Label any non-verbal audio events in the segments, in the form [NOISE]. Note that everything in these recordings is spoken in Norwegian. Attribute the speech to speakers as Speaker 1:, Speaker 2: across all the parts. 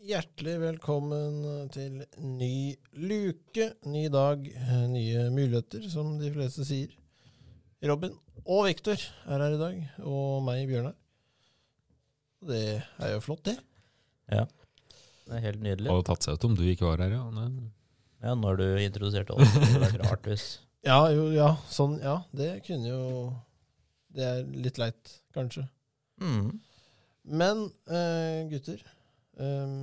Speaker 1: Hjertelig velkommen til ny luke, ny dag, eh, nye muligheter, som de fleste sier. Robin og Viktor er her i dag, og meg, Bjørnar. Det er jo flott, det.
Speaker 2: Det er helt nydelig.
Speaker 3: Hadde tatt seg ut om du ikke var her, ja. Nei.
Speaker 2: Ja, når du introduserte oss, det hadde vært rart hvis
Speaker 1: Ja, jo, ja, sånn, ja. Det kunne jo Det er litt leit, kanskje.
Speaker 2: [LAUGHS] mm.
Speaker 1: Men eh, gutter, eh,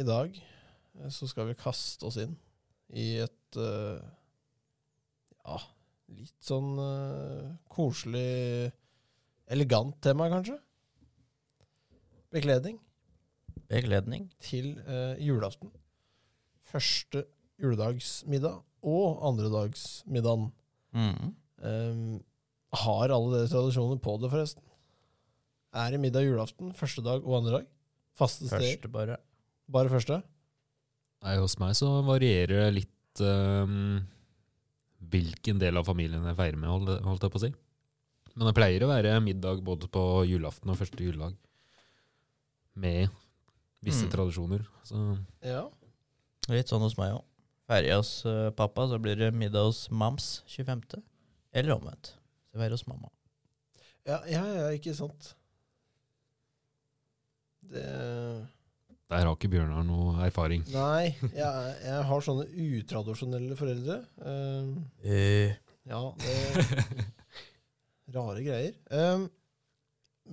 Speaker 1: i dag eh, så skal vi kaste oss inn i et eh, ja, litt sånn eh, koselig, elegant tema, kanskje. Bekledning
Speaker 2: Bekledning.
Speaker 1: til eh, julaften. Første juledagsmiddag og andredagsmiddagen.
Speaker 2: Mm.
Speaker 1: Um, har alle dere tradisjoner på det, forresten? Er det middag julaften, første dag og andre dag? Faste steder?
Speaker 2: Første, bare.
Speaker 1: Bare første?
Speaker 3: Nei, hos meg så varierer det litt ehm, hvilken del av familien jeg feirer med, hold- holdt jeg på å si. Men det pleier å være middag både på julaften og første juledag. Med visse
Speaker 2: Mm.
Speaker 3: tradisjoner. Så
Speaker 1: Ja.
Speaker 2: Litt sånn hos meg òg. Ferja hos eh, pappa, så blir det middag hos mams 25. Eller omvendt. Så være hos mamma.
Speaker 1: Ja, ja, ja, ikke sant. Det
Speaker 3: der har ikke Bjørnar noe erfaring.
Speaker 1: Nei, jeg, jeg har sånne utradisjonelle foreldre. Um,
Speaker 2: Eh.
Speaker 1: ja, det Rare greier. Um,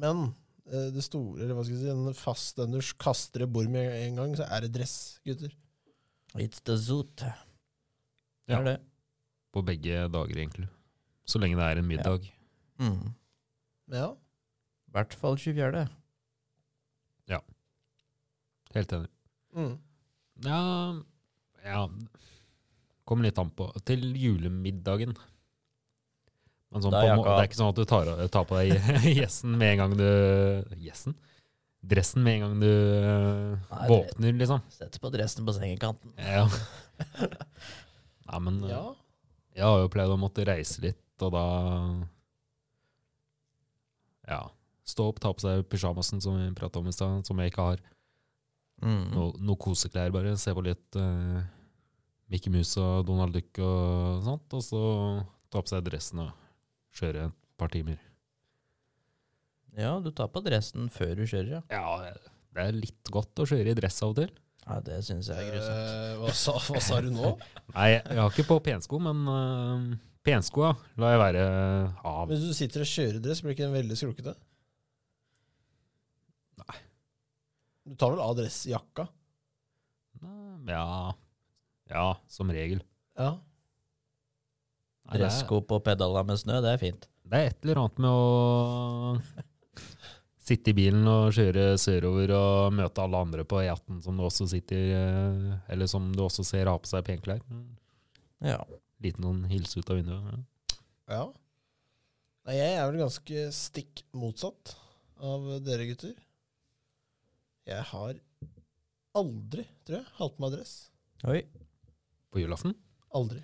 Speaker 1: men eh, det store, eller hva skal jeg si, en fastenders kaster et bord med en gang, så er det dress, gutter.
Speaker 2: It's the zoot. Det
Speaker 3: Ja.
Speaker 2: er det.
Speaker 3: [LAUGHS] På begge dager, egentlig. Så lenge det er en middag.
Speaker 2: Mm.
Speaker 1: Ja.
Speaker 2: I hvert fall 24.
Speaker 3: Helt enig.
Speaker 1: Mm.
Speaker 3: Ja, ja Kommer litt an på. Til julemiddagen. Men sånn
Speaker 2: Da
Speaker 3: på,
Speaker 2: er jeg
Speaker 3: må-
Speaker 2: ikke-
Speaker 3: det er ikke sånn at du tar, tar på deg [LAUGHS] gjessen med en gang du Gjessen? Dressen med en gang du
Speaker 2: Nei,
Speaker 3: eh,
Speaker 2: det-
Speaker 3: våkner, liksom.
Speaker 2: Setter på dressen på sengekanten.
Speaker 3: Ja.
Speaker 2: [LAUGHS]
Speaker 3: Nei, men eh,
Speaker 1: ja.
Speaker 3: jeg har jo pleid å måtte reise litt, og da Ja. Stå opp, ta på seg pysjamasen som vi prata om i stad, som jeg ikke har.
Speaker 2: Mm.
Speaker 3: No, noe koseklær, bare. Se på litt eh, Mickey Mouse og Donald Duck og sånt. Og så ta på seg dressen og kjøre et par timer.
Speaker 2: Ja, du tar på dressen før du kjører, ja.
Speaker 3: Ja, det er litt godt å kjøre i dress av og til.
Speaker 2: ja det syns jeg er grusomt.
Speaker 1: Eh, hva, sa, hva sa du nå?
Speaker 3: Nei, jeg har ikke på pensko, men eh, penskoa lar jeg være av.
Speaker 1: Hvis du sitter og kjører dress, blir ikke den veldig skrukete?
Speaker 3: Nei.
Speaker 1: Du tar vel av dressjakka?
Speaker 3: Ja, ja som regel.
Speaker 1: Ja.
Speaker 3: Nei, det, er,
Speaker 2: Dressko på pedala med snø, det er fint.
Speaker 3: det er et eller annet med å sitte i bilen og kjøre sørover og møte alle andre på E18 som du også sitter eh, Eller som du også ser har på seg penklær.
Speaker 2: Ja.
Speaker 3: Liten noen hilse ut av vinduet. ja.
Speaker 1: ja. Nei, jeg er vel ganske stikk motsatt av dere gutter. Jeg har aldri, tror jeg, hatt på meg dress.
Speaker 2: Oi.
Speaker 3: På julaften.
Speaker 1: Aldri.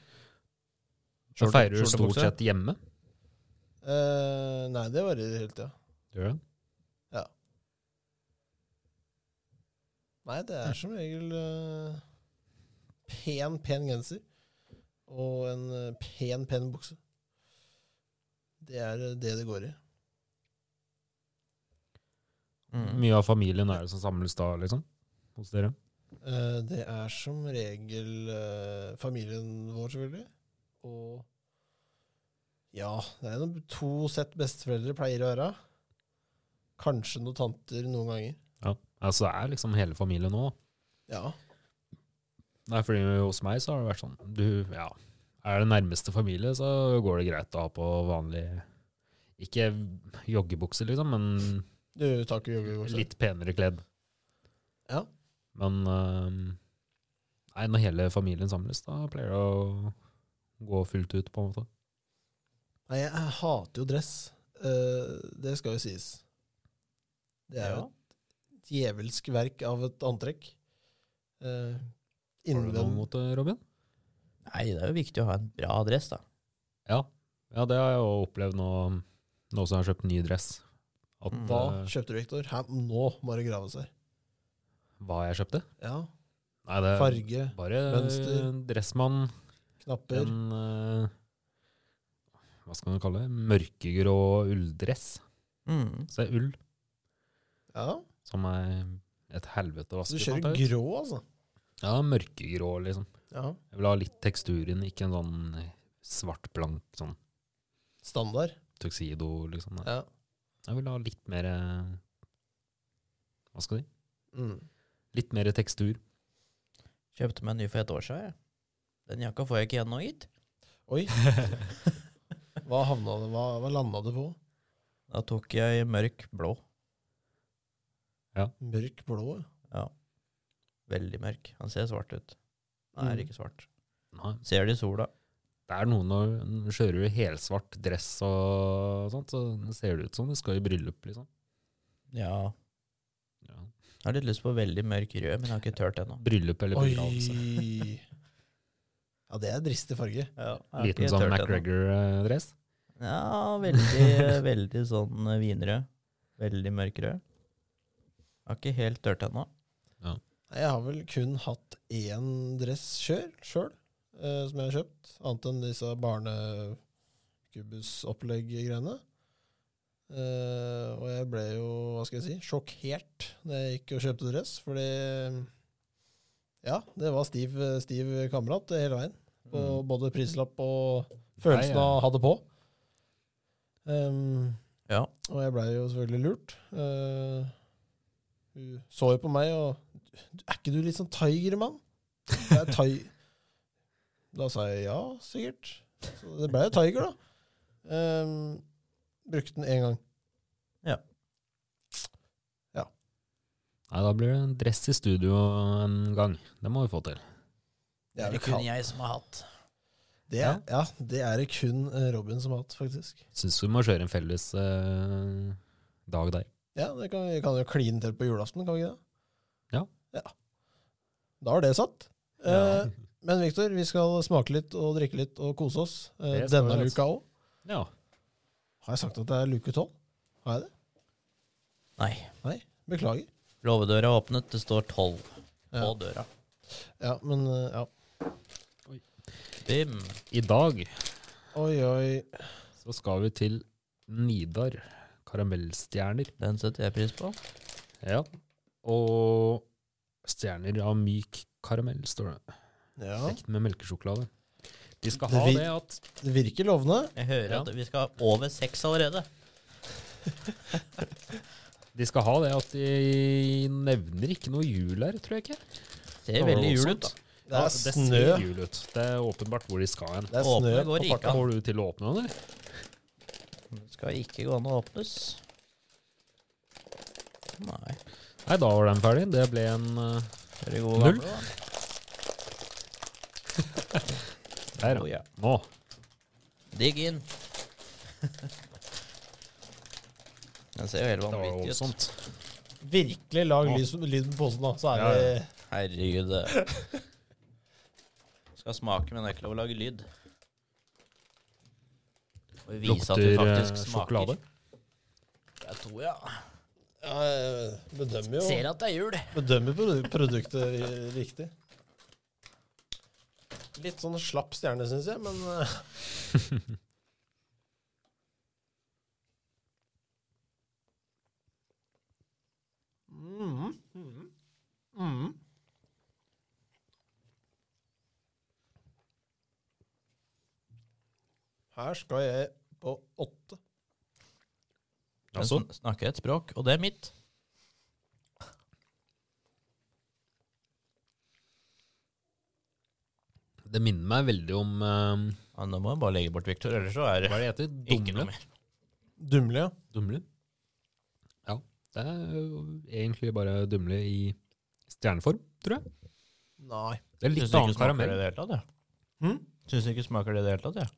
Speaker 3: Så
Speaker 2: Skjorte-
Speaker 3: feirer du
Speaker 2: skjortebukse?
Speaker 3: stort sett hjemme.
Speaker 1: Eh, nei, det varer hele tida.
Speaker 3: Gjør det?
Speaker 1: Nei, det er som regel eh, pen, pen genser og en eh, pen, pen bukse. Det er eh, det det går i.
Speaker 2: Mm.
Speaker 3: Mye av familien er det som samles da, liksom? Hos dere?
Speaker 1: Eh, Det er som regel eh, familien vår, selvfølgelig. Og ja, det er noen to sett besteforeldre pleier å være. Kanskje noen tanter noen ganger.
Speaker 3: Ja. Altså, det er liksom hele familien nå. da.
Speaker 1: Ja.
Speaker 3: Nei, fordi hos meg så har det vært sånn Du, ja. Er det nærmeste familie, så går det greit å ha på vanlig Ikke joggebukse, liksom, men
Speaker 1: Du tar ikke joggebukse?
Speaker 3: litt penere kledd.
Speaker 1: Ja.
Speaker 3: Men øhm, Nei, når hele familien samles, da pleier det å gå fullt ut, på en måte.
Speaker 1: Nei, jeg, jeg hater jo dress. Eh, det skal jo sies. Det er jo
Speaker 2: Ja.
Speaker 1: et djevelsk verk av et antrekk. Uh,
Speaker 3: Har du noe
Speaker 1: innvendig
Speaker 3: mot det, Robin?
Speaker 2: Nei, det er jo viktig å ha en bra dress, da.
Speaker 3: Ja, ja det har jeg jo opplevd nå, nå som jeg har kjøpt ny dress. At,
Speaker 2: Mm.
Speaker 1: Hva
Speaker 3: eh,
Speaker 1: kjøpte du, Viktor? Hæ, Nå må det graves her.
Speaker 3: Hva jeg kjøpte?
Speaker 1: Ja.
Speaker 3: Nei, det er
Speaker 1: Farge,
Speaker 3: bare
Speaker 1: mønster.
Speaker 3: en dressmann.
Speaker 1: knapper.
Speaker 3: En eh, Hva skal man kalle det? Mørkegrå ulldress.
Speaker 2: Mm.
Speaker 3: Så det er ull
Speaker 1: Ja,
Speaker 3: som er et helvete å
Speaker 1: så
Speaker 3: vaske.
Speaker 1: du
Speaker 3: fant jeg
Speaker 1: kjører
Speaker 3: ut.
Speaker 1: grå, altså.
Speaker 3: Ja, mørkegrå, liksom.
Speaker 1: Ja,
Speaker 3: Jeg vil ha litt teksturen, ikke en sånn svart-blank sånn
Speaker 1: Standard.
Speaker 3: tuxedo, liksom. Nei.
Speaker 1: Ja.
Speaker 3: Jeg vil ha litt mer eh, Hva skal jeg si?
Speaker 1: Mm.
Speaker 3: Litt mer tekstur.
Speaker 2: Kjøpte meg en ny for et år siden. jeg. Den jakka får jeg ikke igjen nå, gitt.
Speaker 1: Oi.
Speaker 3: [LAUGHS]
Speaker 1: Hva, havna det, hva, hva landa det på?
Speaker 2: Da tok jeg mørk blå.
Speaker 1: Mørk blå? ja.
Speaker 2: Veldig mørk. Han ser svart ut. Nei,
Speaker 1: Mm.
Speaker 2: ikke svart.
Speaker 3: Nei.
Speaker 2: Ser det i sola.
Speaker 3: Det er noe når du kjører i helsvart dress og sånt, så ser det ut som du skal i bryllup, liksom.
Speaker 2: Ja.
Speaker 3: Ja.
Speaker 2: Jeg har litt lyst på veldig mørk rød, men jeg har ikke tørt ennå.
Speaker 3: Bryllup eller
Speaker 1: Oi!
Speaker 3: begravelse.
Speaker 1: Ja, det er dristig farge.
Speaker 2: Ja, jeg har
Speaker 3: Liten
Speaker 2: ikke
Speaker 3: sånn
Speaker 2: tørt ennå.
Speaker 3: McGregor-dress.
Speaker 2: Ja, veldig, [LAUGHS] veldig sånn vinrød. Veldig mørk rød. Har ikke helt tørt ennå.
Speaker 1: Nei, Jeg har vel kun hatt én dress sjøl, eh, som jeg har kjøpt. Annet enn disse barnekubusopplegg-greiene. Eh, og jeg ble jo, hva skal jeg si, sjokkert når jeg gikk og kjøpte dress. Fordi ja, det var stiv, stiv kamerat hele veien. På
Speaker 3: Mm.
Speaker 1: både prislapp og
Speaker 3: Nei,
Speaker 1: følelsen
Speaker 3: ja.
Speaker 1: av å ha det på. Ehm,
Speaker 2: Ja.
Speaker 1: og jeg blei jo selvfølgelig lurt. Eh, hun så jo på meg og Er ikke du litt sånn tiger, mann? Det er ti [LAUGHS] da sa jeg ja, sikkert. Så det blei jo tiger, da. Ehm, brukte den én gang.
Speaker 3: Nei, da blir det en dress i studio en gang. Det må vi få til.
Speaker 1: Det er det
Speaker 2: kun
Speaker 1: kun,
Speaker 2: jeg som har hatt.
Speaker 1: det er, ja, det er det kun eh, Robin som har hatt, faktisk.
Speaker 3: Syns vi må kjøre en felles eh, dag der.
Speaker 1: Ja, det kan, Vi kan jo kline til på julaften, kan vi ikke det?
Speaker 3: Ja.
Speaker 1: Da er det satt.
Speaker 2: Ja.
Speaker 1: Eh, men Viktor, vi skal smake litt og drikke litt og kose oss eh,
Speaker 3: Det skal
Speaker 1: denne
Speaker 3: vi, altså.
Speaker 1: luka òg.
Speaker 3: [LAUGHS] Ja.
Speaker 1: Har jeg sagt at det er luke tolv? Har jeg det?
Speaker 2: Nei.
Speaker 1: Beklager.
Speaker 2: Låvedøra er åpnet, det står tolv på
Speaker 1: Ja,
Speaker 2: døra.
Speaker 1: ja men eh, ja.
Speaker 2: Bim.
Speaker 3: I dag
Speaker 1: Oi, oi.
Speaker 3: så skal vi til Nidar karamellstjerner.
Speaker 2: Den setter jeg pris på.
Speaker 3: Ja. Og stjerner av myk karamell, står det.
Speaker 1: Ja.
Speaker 3: Stekt med melkesjokolade. De skal
Speaker 1: Det
Speaker 3: ha
Speaker 1: vi-
Speaker 3: det at
Speaker 1: Det virker lovende.
Speaker 2: Jeg hører
Speaker 3: Ja.
Speaker 2: at vi skal over seks allerede.
Speaker 3: De skal ha det at de nevner ikke noe jul her, tror jeg ikke.
Speaker 2: Ser veldig jul ut, da.
Speaker 1: Det er
Speaker 3: det
Speaker 1: snø.
Speaker 3: ser jul ut. Det er åpenbart hvor de skal hen.
Speaker 1: Det er
Speaker 2: Åpne
Speaker 1: snø på
Speaker 2: går ikke
Speaker 1: farta.
Speaker 2: an.
Speaker 3: Får du til å åpne den, eller?
Speaker 2: Det skal ikke gå an å åpnes. Nei.
Speaker 3: Nei, da var den ferdig. Det ble en eh,
Speaker 2: Er det god
Speaker 3: Null.
Speaker 2: gamle, da?
Speaker 3: Der,
Speaker 2: Oh,
Speaker 3: ja.
Speaker 2: ja.
Speaker 3: Nå.
Speaker 2: Digg inn. [LAUGHS] Den ser jo helt
Speaker 3: Det var jo
Speaker 2: vanvittig ut.
Speaker 3: sånt.
Speaker 1: Virkelig lag lys- lyd på posen, da. Så er
Speaker 3: Ja,
Speaker 1: det
Speaker 3: ja.
Speaker 2: Herregud. det. Skal smake, men det er ikke lov å lage lyd. Og vise at
Speaker 3: Lukter
Speaker 2: vi
Speaker 3: eh,
Speaker 2: faktisk smaker.
Speaker 3: sjokolade.
Speaker 2: Jeg tror, ja.
Speaker 1: ja, jeg bedømmer jo
Speaker 2: Ser at det er jul.
Speaker 1: bedømmer produ- produktet ri- riktig. Litt sånn slapp stjerne, syns jeg, men eh, [LAUGHS] Mhm, mhm, mhm. Her skal jeg på åtte.
Speaker 2: Den
Speaker 3: Altså,
Speaker 2: sn- snakker et språk, og det er mitt.
Speaker 3: det minner meg veldig om eh,
Speaker 2: Ja, nå må jeg bare legge bort Victor, ellers så er det
Speaker 3: Hva er det heter?
Speaker 2: ikke noe
Speaker 3: Dumle?
Speaker 2: mer.
Speaker 1: Dumle, ja.
Speaker 3: Dumle? Ja. Det er jo egentlig bare dumle i stjerneform, tror jeg.
Speaker 1: Nei.
Speaker 3: Det er
Speaker 2: Syns du
Speaker 3: litt
Speaker 2: ikke
Speaker 3: annen
Speaker 2: smaker det
Speaker 3: karamell.
Speaker 2: i det hele tatt, jeg?
Speaker 1: Hm?
Speaker 2: Syns Mm? du ikke smaker det i det hele tatt, jeg?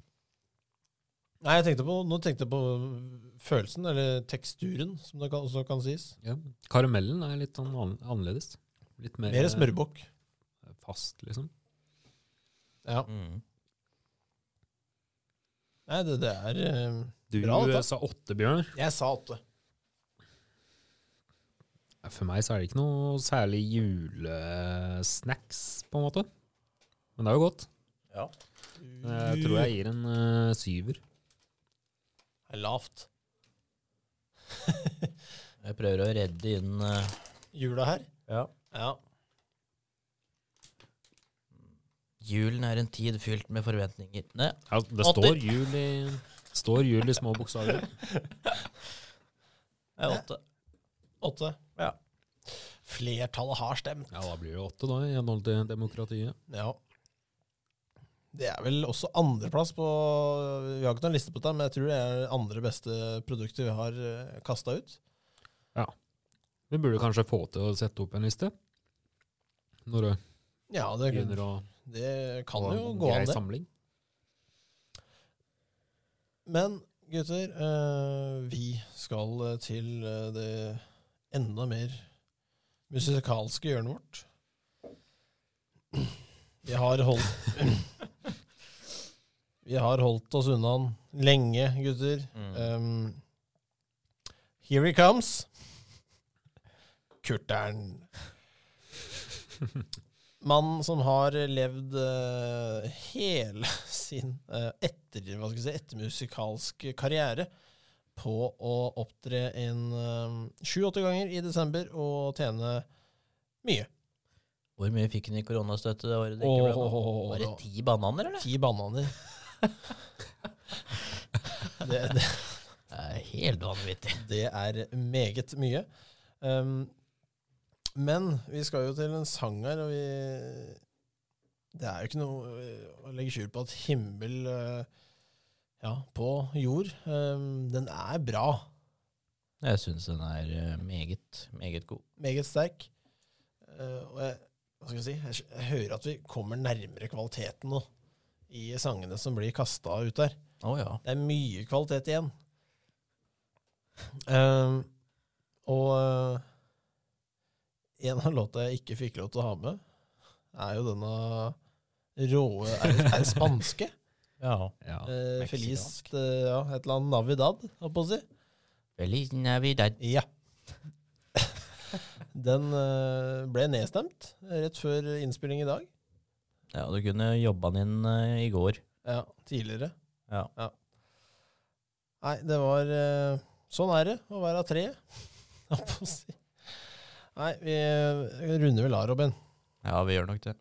Speaker 1: Nei, jeg tenkte på, nå tenkte jeg på øh, følelsen, eller teksturen, som det kan, også kan sies.
Speaker 3: Ja. Karamellen er litt sånn ann- annerledes. Litt mer,
Speaker 1: Mer smørbukk.
Speaker 3: eh, fast, liksom.
Speaker 1: Ja.
Speaker 2: Mm.
Speaker 1: Nei, det, det er eh,
Speaker 3: Du
Speaker 1: Bra, da.
Speaker 3: sa åtte, Bjørn.
Speaker 1: Jeg sa åtte.
Speaker 3: Ja, For meg så er det ikke noe særlig julesnacks, på en måte. Men det er jo godt.
Speaker 2: Ja.
Speaker 3: Jeg tror jeg gir en eh, syver.
Speaker 2: Det er lavt. jeg prøver å redde inn eh,
Speaker 1: Jula her?
Speaker 2: ja.
Speaker 1: Ja.
Speaker 2: Julen er en tid fylt med forventninger. Nei,
Speaker 3: Ja, det
Speaker 2: Åtter.
Speaker 3: står jul, i, står jul i små bokstaver.
Speaker 2: det er åtte.
Speaker 1: Åtte.
Speaker 2: Ja.
Speaker 1: Flertallet har stemt.
Speaker 3: Ja, da blir det åtte, da, i henhold til demokratiet.
Speaker 1: Ja. Det er vel også andreplass på øh, Vi har ikke noen liste på det, men jeg tror det er det andre beste produktet vi har kasta ut.
Speaker 3: Vi burde kanskje få til å sette opp en liste. Når det
Speaker 1: Ja, det,
Speaker 3: begynner å
Speaker 1: det kan
Speaker 3: få
Speaker 1: jo
Speaker 3: en
Speaker 1: gå
Speaker 3: grei
Speaker 1: an, det.
Speaker 3: samling.
Speaker 1: Men gutter, eh, vi skal eh, til eh, det enda mer musikalske hjørnet vårt. Vi har holdt [CLEARS THROAT] Vi har holdt oss unna den lenge, gutter.
Speaker 2: Mm.
Speaker 1: Um, here he comes. Kurtern. Mannen som har levd eh, hele sin eh, etter, hva skal jeg si, ettermusikalske karriere på å opptre en eh, sju-åtte ganger i desember og tjene mye.
Speaker 2: Hvor mye fikk han i koronastøtte det året? det
Speaker 1: Åh,
Speaker 2: ikke ble
Speaker 1: åh, åh, åh,
Speaker 2: Var det
Speaker 1: åh.
Speaker 2: ti bananer, eller?
Speaker 1: Ti bananer. det, det,
Speaker 2: Det er helt vanvittig.
Speaker 1: Det er meget mye. Um, men vi skal jo til en sang her, og vi Det er jo ikke noe eh, å legge skjul på at himmel eh, ja, på jord, um, den er bra.
Speaker 2: Jeg syns den er eh, meget, meget god.
Speaker 1: Meget sterk. Eh, og jeg, hva skal jeg si, jeg, skj- jeg hører at vi kommer nærmere kvaliteten nå i sangene som blir kasta ut der.
Speaker 2: Å ja.
Speaker 1: Det er mye kvalitet igjen. Ehm, og eh, en av låta jeg ikke fikk lov til å ha med, er jo denne råe Er det- er det spanske?
Speaker 2: ja.
Speaker 3: Ja.
Speaker 1: Eh,
Speaker 2: meksikansk.
Speaker 1: Feliz eh, ja, et eller annet Navidad, holdt på å si.
Speaker 2: Feliz Navidad.
Speaker 1: Ja. [LAUGHS] Den eh, ble nedstemt rett før innspilling i dag.
Speaker 2: Ja, du kunne jobba den inn eh, i går.
Speaker 1: Ja, tidligere.
Speaker 2: Ja.
Speaker 1: Nei, det var eh, Sånn er det å være tre. [LAUGHS] holdt på å si. Nei, vi eh, runder vel av, Robin.
Speaker 2: Ja, vi gjør nok det.